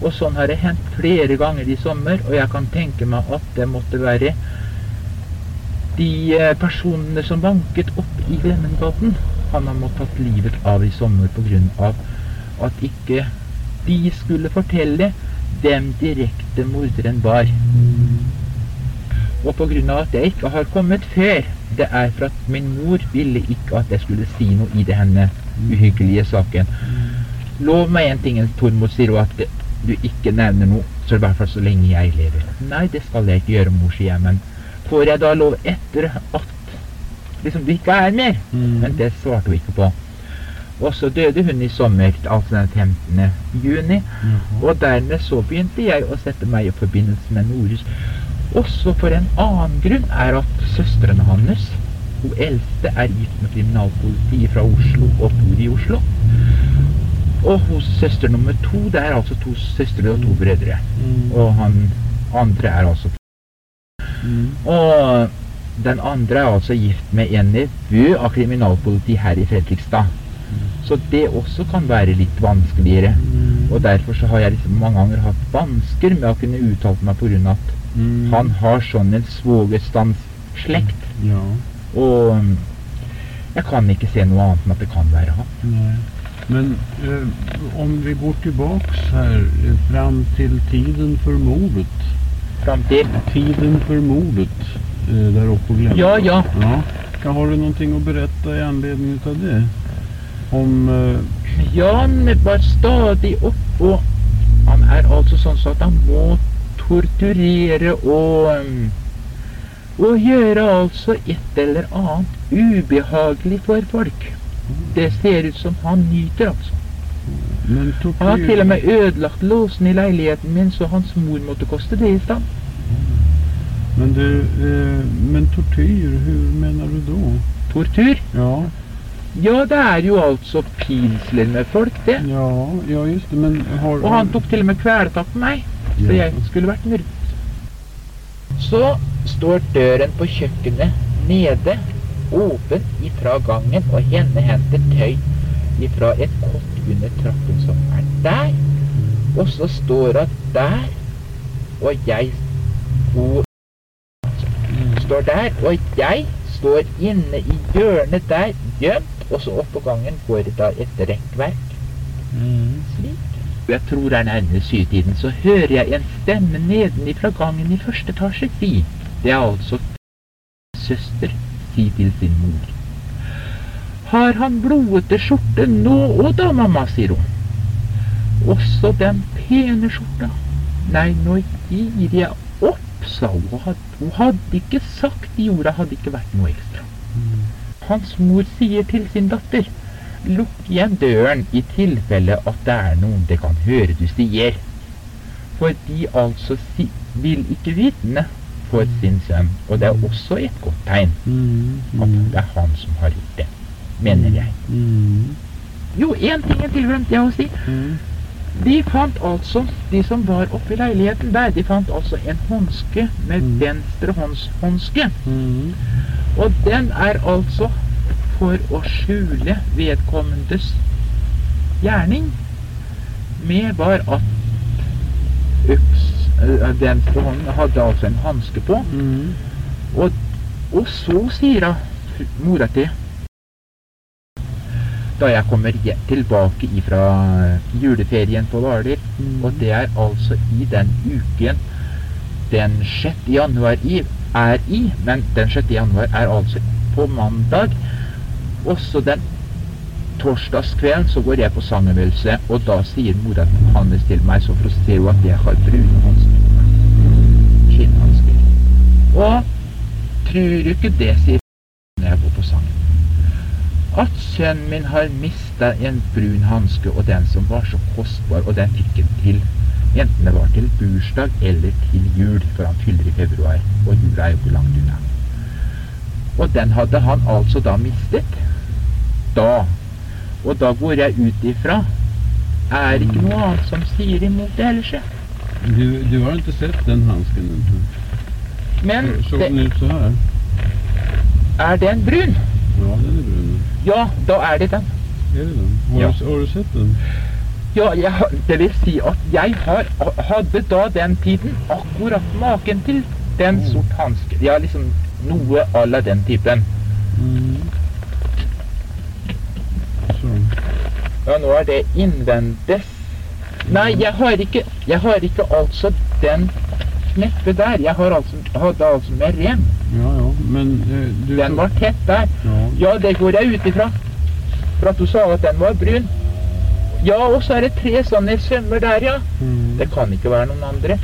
Speaker 10: Og sånn har det hendt flere ganger i sommer, og jeg kan tenke meg at det måtte være de eh, personene som banket opp i Glemmengaten, han har måttet tatt livet av i sommer på grunn av at ikke de skulle fortelle dem direkte morderen var. Og på grunn av at jeg ikke har kommet før, det er for at min mor ville ikke at jeg skulle si noe i det henne uhyggelige saken. Lov meg en ting, Tormod, sier hun, at du ikke nevner noe, så i hvert fall så lenge jeg lever. Nei, det skal jeg ikke gjøre, mor, sier jeg, men får jeg da lov etter at liksom du ikke er mer? Men det svarte hun ikke på. Og så døde hun i sommer, altså den 15. juni. Og dermed så begynte jeg å sette meg i forbindelse med Norus. Også for en annen grunn er at søstrene hans, hun eldste, er gift med kriminalpolitiet fra Oslo og bor i Oslo. Og hos søster nummer to, det er altså to søstre og to brødre. Og han andre er altså Og den andre er altså gift med en nevø av kriminalpolitiet her i Fredrikstad. Så det også kan være litt vanskeligere. Og derfor så har jeg liksom mange ganger hatt vansker med å kunne uttale meg pga. at
Speaker 9: Mm,
Speaker 10: han har sånn en svogerstandsslekt.
Speaker 9: Ja.
Speaker 10: Og mm, jeg kan ikke se noe annet enn at det kan være han.
Speaker 9: Nej. Men eh, om vi går tillbaks här eh, fram till tiden för mordet.
Speaker 10: Fram till?
Speaker 9: Tiden för mordet eh, där uppe på Glänta.
Speaker 10: Ja, ja.
Speaker 9: ja. Kan- Har du någonting att berätta i anledning utav det? Om... Eh,
Speaker 10: Jan var stadig opp, og han er altså sånn så at han må torturere og mm, Og gjøre altså et eller annet ubehagelig for folk. Det ser ut som han nyter, altså.
Speaker 9: men tortyr...
Speaker 10: Han har til og med ødelagt låsen i leiligheten min, så hans mor måtte koste det i stand.
Speaker 9: Men du, eh, men tortyr, hur menar du då?
Speaker 10: Tortur?
Speaker 9: Ja.
Speaker 10: Ja, det er jo altså pilsler med folk, det.
Speaker 9: Ja, ja just det, men har...
Speaker 10: Og han tok til og med kvelertak på meg, så
Speaker 9: Ja.
Speaker 10: jeg skulle vært myrdet. Så står døren på kjøkkenet nede, åpen ifra gangen, og henne henter tøy ifra et kott under trappen som er der. Og så står hun der, og jeg hun står der, og jeg står inne i hjørnet der, gjemt, og så opp på gangen går det da et rekkverk. Jeg tror det er nærmere syvtiden, så hører jeg en stemme nedenifra gangen i første etasje si. Det er altså søster si til sin mor. Har han blodete skjorte nå òg da, mamma, sier hun. Også den pene skjorta. Nei, nå gir jeg opp, sa hun. Hun had- Hun hadde ikke sagt de orda, hadde ikke vært noe ekstra. Hans mor sier til sin datter Lukk igjen døren i tilfelle at det er noen det kan høre du sier. For de altså si, vil ikke vitne for sin sønn. Og det er også et godt tegn at det er han som har gjort det, mener jeg. Jo, én ting jeg tilglemte jeg å si. De fant altså, de som var oppe i leiligheten der, de fant altså en håndske med venstrehåndshåndske. Og den er altså for å skjule vedkommendes gjerning med var at øks, øh, venstrehånden hadde altså en hanske på. Og, og så sier hun mora til da jeg kommer hje- tilbake ifra juleferien på Hvaler, og det er altså i den uken den 6. januar i, er i, men den 6. januar er altså på mandag. Også den torsdagskvelden så går jeg på sangermøllelse, og da sier mora til Hannes til meg, så protesterer hun at jeg har brune hansker. på meg. Skinnhansker. Og tror du ikke det, sier hun når jeg går på sangen. At sønnen min har mista en brun hanske, og den som var så kostbar, og den fikk han til. Enten det var til bursdag eller til jul, for han fyller i februar, og jula er jo ikke langt unna. Og den hadde han altså da mistet. Da. Og da går jeg ut ifra. Er ikke noe annet som sier imot det ellers, jeg.
Speaker 9: Du, du har inte sett den handsken? Inte.
Speaker 10: Men
Speaker 9: Såg den
Speaker 10: det,
Speaker 9: ut så här?
Speaker 10: er den brun?
Speaker 9: Ja, den är brun.
Speaker 10: Ja, da er det den.
Speaker 9: Är det den? Har,
Speaker 10: Ja.
Speaker 9: du, har du sett den?
Speaker 10: Ja, jeg, har- det vil si at jeg har, hadde da den tiden akkurat maken til den sort hanske. Ja, liksom noe à la den typen.
Speaker 9: Så.
Speaker 10: Ja, nå er det innvendes Nei, jeg har ikke, jeg har ikke altså den kneppe der. Jeg har altså, hadde altså med rem.
Speaker 9: Ja, ja, men eh, du
Speaker 10: Den var tett der.
Speaker 9: Ja.
Speaker 10: Ja, det går jeg ut ifra. For at du sa at den var brun. Ja, og så er det tre sånne sømmer der, ja.
Speaker 9: Mm.
Speaker 10: Det kan ikke være noen andre.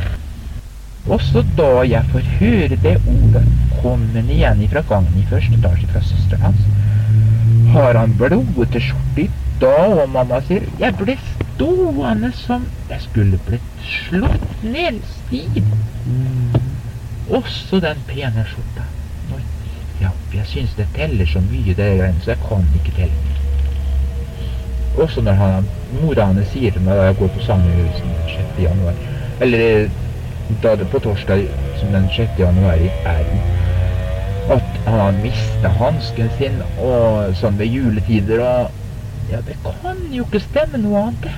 Speaker 10: Og så da jeg får høre det ordet kommer han igjen ifra gangen i første etasje fra søsteren hans, har han blodete skjorte i dag, og mamma sier jeg ble stående som jeg skulle blitt slått ned stiv. Også den pene skjorta. Nå gikk jeg opp. Jeg syns det teller så mye, det greiene, så jeg kan ikke telle. Også når han, mora hans sier til meg da jeg går på sangerhusen den 6. januar Eller eh, da det på torsdag som den 6. januar i er i, At han mista hansken sin og sånn ved juletider og Ja, det kan jo ikke stemme noe annet, det.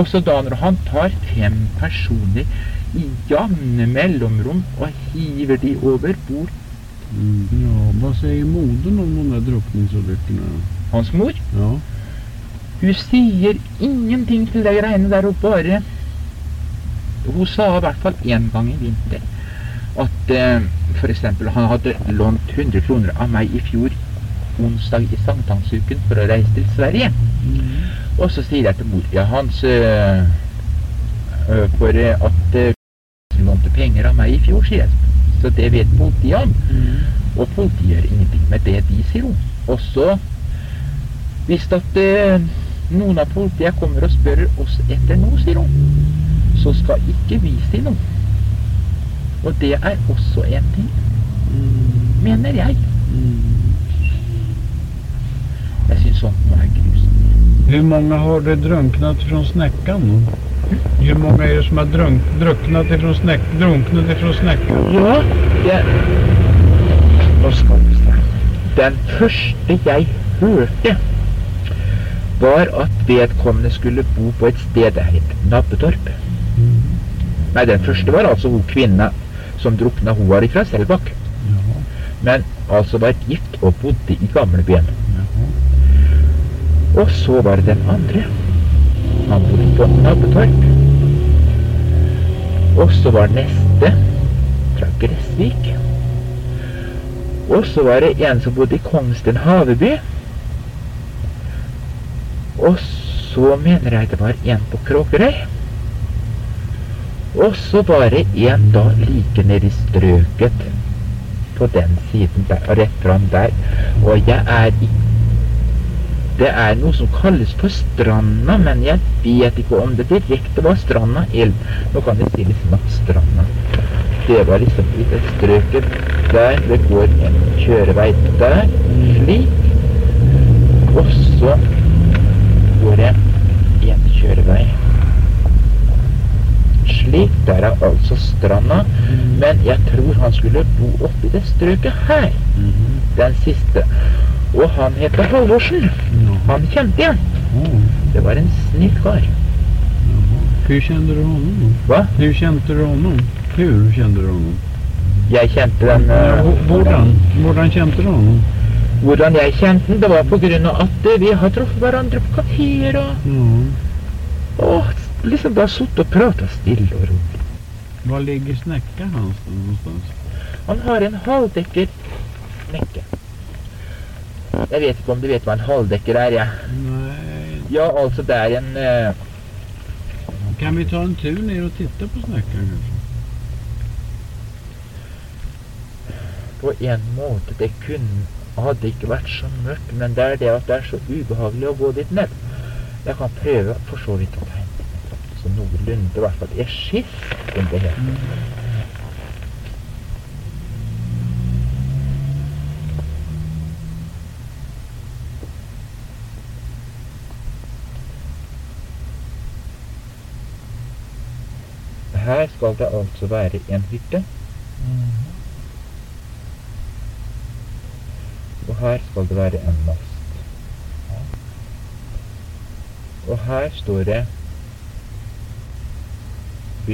Speaker 10: Også da når han tar fem personer i jevne mellomrom og hiver de over bord.
Speaker 9: Mm. Ja, vad säger modern om de där drunkningsolyckorna?
Speaker 10: Hans mor
Speaker 9: Ja.
Speaker 10: Hun sier ingenting til de greiene der oppe, bare Hun sa i hvert fall én gang i vinter at eh, f.eks. han hadde lånt 100 kroner av meg i fjor onsdag i sankthansuken for å reise til Sverige. Og så sier jeg til mora hans eh, eh, for eh, at eh, hun lånte penger av meg i fjor, sier jeg. Så det vet politiet om. Og politiet gjør ingenting med det de sier hun. Og så hvis at eh, noen av politiet kommer og spør oss etter noe, sier hun, så skal ikke vi si noe. Og det er også en ting, mener jeg. Jeg syns sånt nå er grusomt.
Speaker 9: Hur många har det drunknat från snäckan? Hur många är det som har drunk, drunknat ifrån snäck, drunknat ifrån snäckan?
Speaker 10: Ja, det Nå skal du se. Den første jeg hørte, var at vedkommende skulle bo på et sted der het Nabbetorp. Nei, den første var altså hun kvinna som drukna. Hun var ifra Selbakk.
Speaker 9: Ja,
Speaker 10: men altså var gift og bodde i gamlebyen.
Speaker 9: ja.
Speaker 10: Og så var det den andre. Han bodde på Nabbetorp. Og så var neste fra Gressvik. Og så var det en som bodde i Kongsten Haveby. Og så mener jeg det var en på Kråkerøy. Og så var det en da like nede i strøket på den siden der, og rett fram der. Og jeg er i det er noe som kalles for Stranda, men jeg vet ikke om det direkte var Stranda eller Nå kan jeg si liksom at Stranda Det var liksom i det strøket der det går en kjørevei der, slik. Og så går det en kjørevei slik. Der er altså Stranda. Men jeg tror han skulle bo oppi det strøket her, den siste. Og han heter Halvorsen.
Speaker 9: ja.
Speaker 10: Han kjente jeg.
Speaker 9: ja.
Speaker 10: Det var en snill kar.
Speaker 9: Hur kände du honom? då?
Speaker 10: Va?
Speaker 9: Hur kände du honom? Hur kände du honom?
Speaker 10: Jeg kjente den eh,
Speaker 9: Ja, Hvordan? Hvordan kjente du honom?
Speaker 10: Hvordan jeg kjente den, det var på grunn av at eh, vi har truffet hverandre på kafeer og,
Speaker 9: Ja.
Speaker 10: og liksom bare sittet og pratet stille og rolig.
Speaker 9: Var ligger snäcka hans då någonstans?
Speaker 10: Han har en halvdekker nekke. Jeg vet ikke om du vet hva en halvdekker er, jeg.
Speaker 9: Nej.
Speaker 10: Ja, altså det er en eh,
Speaker 9: Kan vi ta en tur ner och titta på snäckan kanske?
Speaker 10: på en måte det kunne hadde ikke vært så mørkt, men det er det at det er så ubehagelig å gå dit ned. Jeg kan prøve for så vidt å tegne så noenlunde, i hvert fall et skiss, som det heter. Her skal det altså være en hytte. Og her skal det være en mast. Og her står det B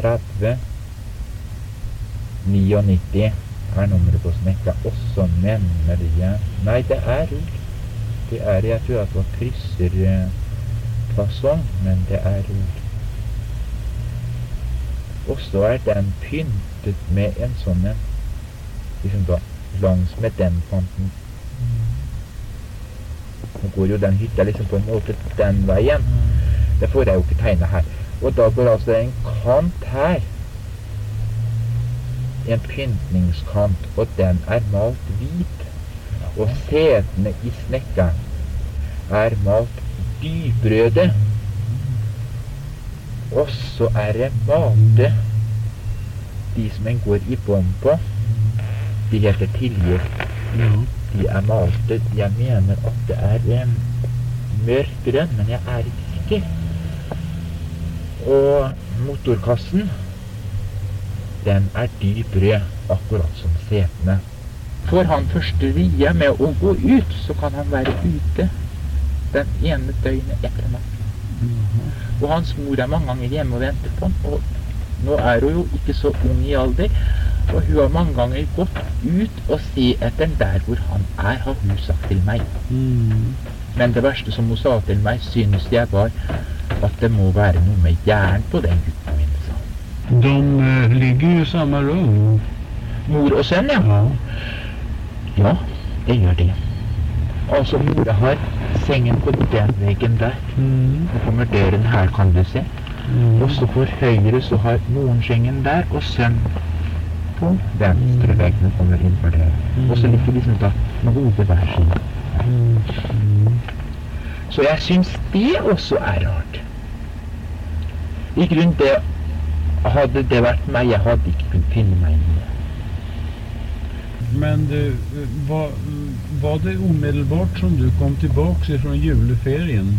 Speaker 10: 30 99 er nummeret på snekka. Og så nevner jeg Nei, det er rull. Det er, jeg tror at det var krysserfasong, men det er Og så er den pyntet med en sånn en liksom da, langs med den kanten. Nå går jo den hytta liksom på en måte den veien. Det får jeg jo ikke tegne her. Og da går altså en kant her. En pyntningskant, og den er malt hvit. Og setene i snekkeren er malt dyprøde. Og så er det malte de som en går i bånd på. De heter tilgitt. De er malte. Jeg mener at det er em, mørk grønn, men jeg er ikke sikker. Og motorkassen, den er dyp rød, akkurat som setene. Får han første vie med å gå ut, så kan han være ute den ene døgnet etter natten. Og hans mor er mange ganger hjemme og venter på han. Og nå er hun jo ikke så ung i alder, og hun har mange ganger gått ut og se etter han der hvor han er, har hun sagt til meg.
Speaker 9: Mm.
Speaker 10: Men det verste som hun sa til meg, synes jeg var at det må være noe med hjernen på den gutten min. sa hun.
Speaker 9: De eh, ligger ju i samma rum.
Speaker 10: Mor og sønn, ja. Ja, det gjør de. Altså, mora har sengen på den veggen der.
Speaker 9: Mm.
Speaker 10: Så kommer døren her, kan du se. Og så på høyre så har moren sengen der, og sønn på venstre veggen kommer inn for det. Og så ligger liksom da med hodet hver sin. Så jeg syns det også er rart. I grunnen det hadde det vært meg, jeg hadde ikke kunnet finne meg inn i det.
Speaker 9: Men du, eh, var, var det omedelbart som du kom tillbaks ifrån juleferien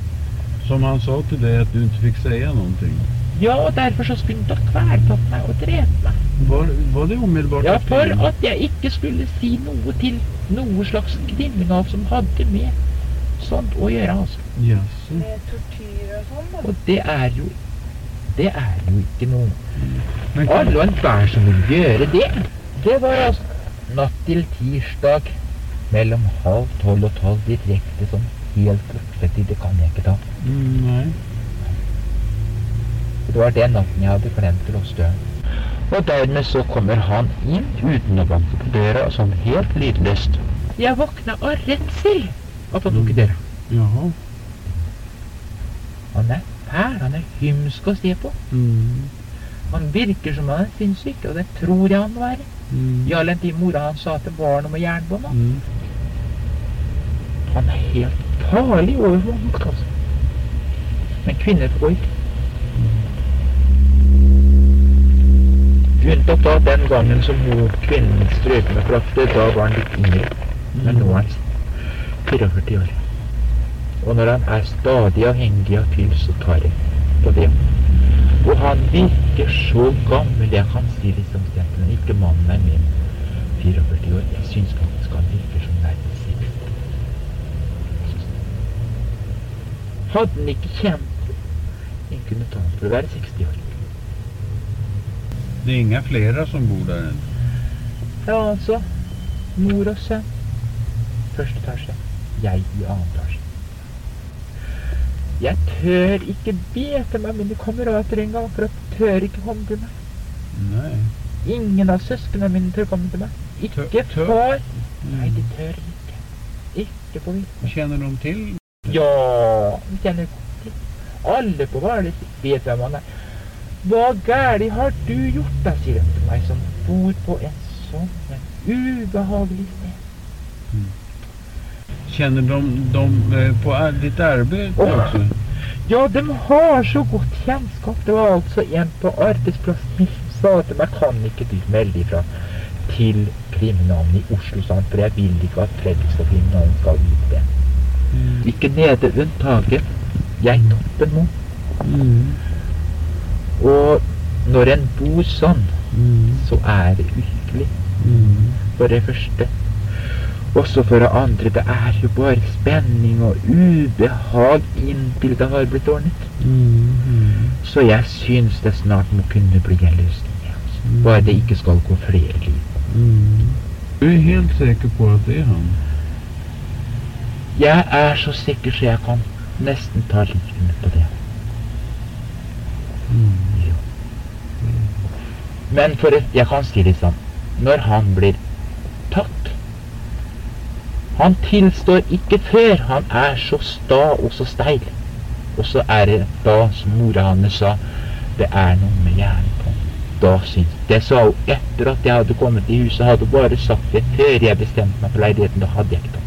Speaker 9: som han sa till dig att du inte fick säga någonting?
Speaker 10: Ja, og derfor så skulle han da kvelertatt meg og drept meg.
Speaker 9: Var, var det omedelbart
Speaker 10: Ja,
Speaker 9: efter
Speaker 10: for
Speaker 9: julen?
Speaker 10: at jeg ikke skulle si noe til noe slags kriminal som hadde med sånt å gjøre, altså.
Speaker 9: Jaså.
Speaker 5: Med tortyr og sånn, da.
Speaker 10: Og det er jo Det er jo ikke noe
Speaker 9: Men-
Speaker 10: Alle og enhver som vil gjøre det. Det var altså natt til tirsdag mellom halv tolv og tolv direkte sånn helt klokkeslett. Det kan jeg ikke ta.
Speaker 9: Mm, nej.
Speaker 10: Det var den natten jeg hadde glemt låsdøren. Og dermed så kommer han inn uten å banke på døra, sånn helt lydløst. Jeg våkna av redsel at han tok i døra.
Speaker 9: Jaha.
Speaker 10: Han er fæl, han er hymsk å se på.
Speaker 9: Mm,
Speaker 10: Han virker som han er sinnssyk, og det tror jeg han må være.
Speaker 9: mm,
Speaker 10: I all den tid mora hans sa at det var noe med jernbånda.
Speaker 9: mm.
Speaker 10: Han er helt farlig overfor folk, altså. Men kvinner får ikke. Unntatt da den gangen som hun kvinnen strøk med plakter, da var han litt yngre. Men nå er han 44 år. Og når han er stadig avhengig av fyll, så tar jeg på det. Og han virker så gammel. Jeg kan si liksom stemplene. Ikke mannen er min 44 år. Jeg syns faktisk han virker som nærmest 60. Hadde han ikke kjent Jeg kunne ta han for å være 60 år.
Speaker 9: Det är inga flera som bor där än.
Speaker 10: Ja, altså. Mor og sønn. Første etasje. Jeg i annen etasje. Jeg tør ikke be etter meg mine kamerater engang, for at de tør ikke komme til meg.
Speaker 9: Nej.
Speaker 10: Ingen av søsknene mine tør komme til meg. Ikke
Speaker 9: Tør- tør-
Speaker 10: far. Nei,
Speaker 9: Mm.
Speaker 10: de tør ikke. Ikke på vidt.
Speaker 9: Känner de till?
Speaker 10: Ja, vi kjenner godt til. Alle på Hvaler vet hvem han er. Hva gærlig har du gjort da, sier de til meg, som bor på en sånn en ubehagelig sted.
Speaker 9: Känner de, de eh, på ar- ditt arbete
Speaker 10: Åh.
Speaker 9: också?
Speaker 10: Ja, de har så godt kjennskap. Det var altså en på arbeidsplassen min som sa til meg, kan ikke du melde ifra til kriminalen i Oslo, sa han, for jeg vil ikke at Fredrikstad kriminalen skal vite det. Ikke nede unntaket. Jeg toppen nå.
Speaker 9: Mm.
Speaker 10: Og når en bor sånn,
Speaker 9: Mm.
Speaker 10: så er det uhyggelig.
Speaker 9: Mm.
Speaker 10: For det første. Også for det andre, det er jo bare spenning og ubehag inntil det har blitt ordnet.
Speaker 9: Mm. Mm.
Speaker 10: Så jeg syns det snart må kunne bli en løsning. ja, altså. Bare det ikke skal gå flere liv.
Speaker 9: Mm. Du är helt säker på att det är han?
Speaker 10: Jeg er så sikker så jeg kan nesten ta livet mitt på det.
Speaker 9: Mm.
Speaker 10: Jo. Men for et, jeg kan si litt sånn Når han blir tatt Han tilstår ikke før han er så sta og så steil. Og så er det da, som mora hans sa, det er noe med hjernen på han. Da syns Det sa hun etter at jeg hadde kommet i huset. Hadde hun bare sagt det før jeg bestemte meg for leiligheten. Da hadde jeg ikke tatt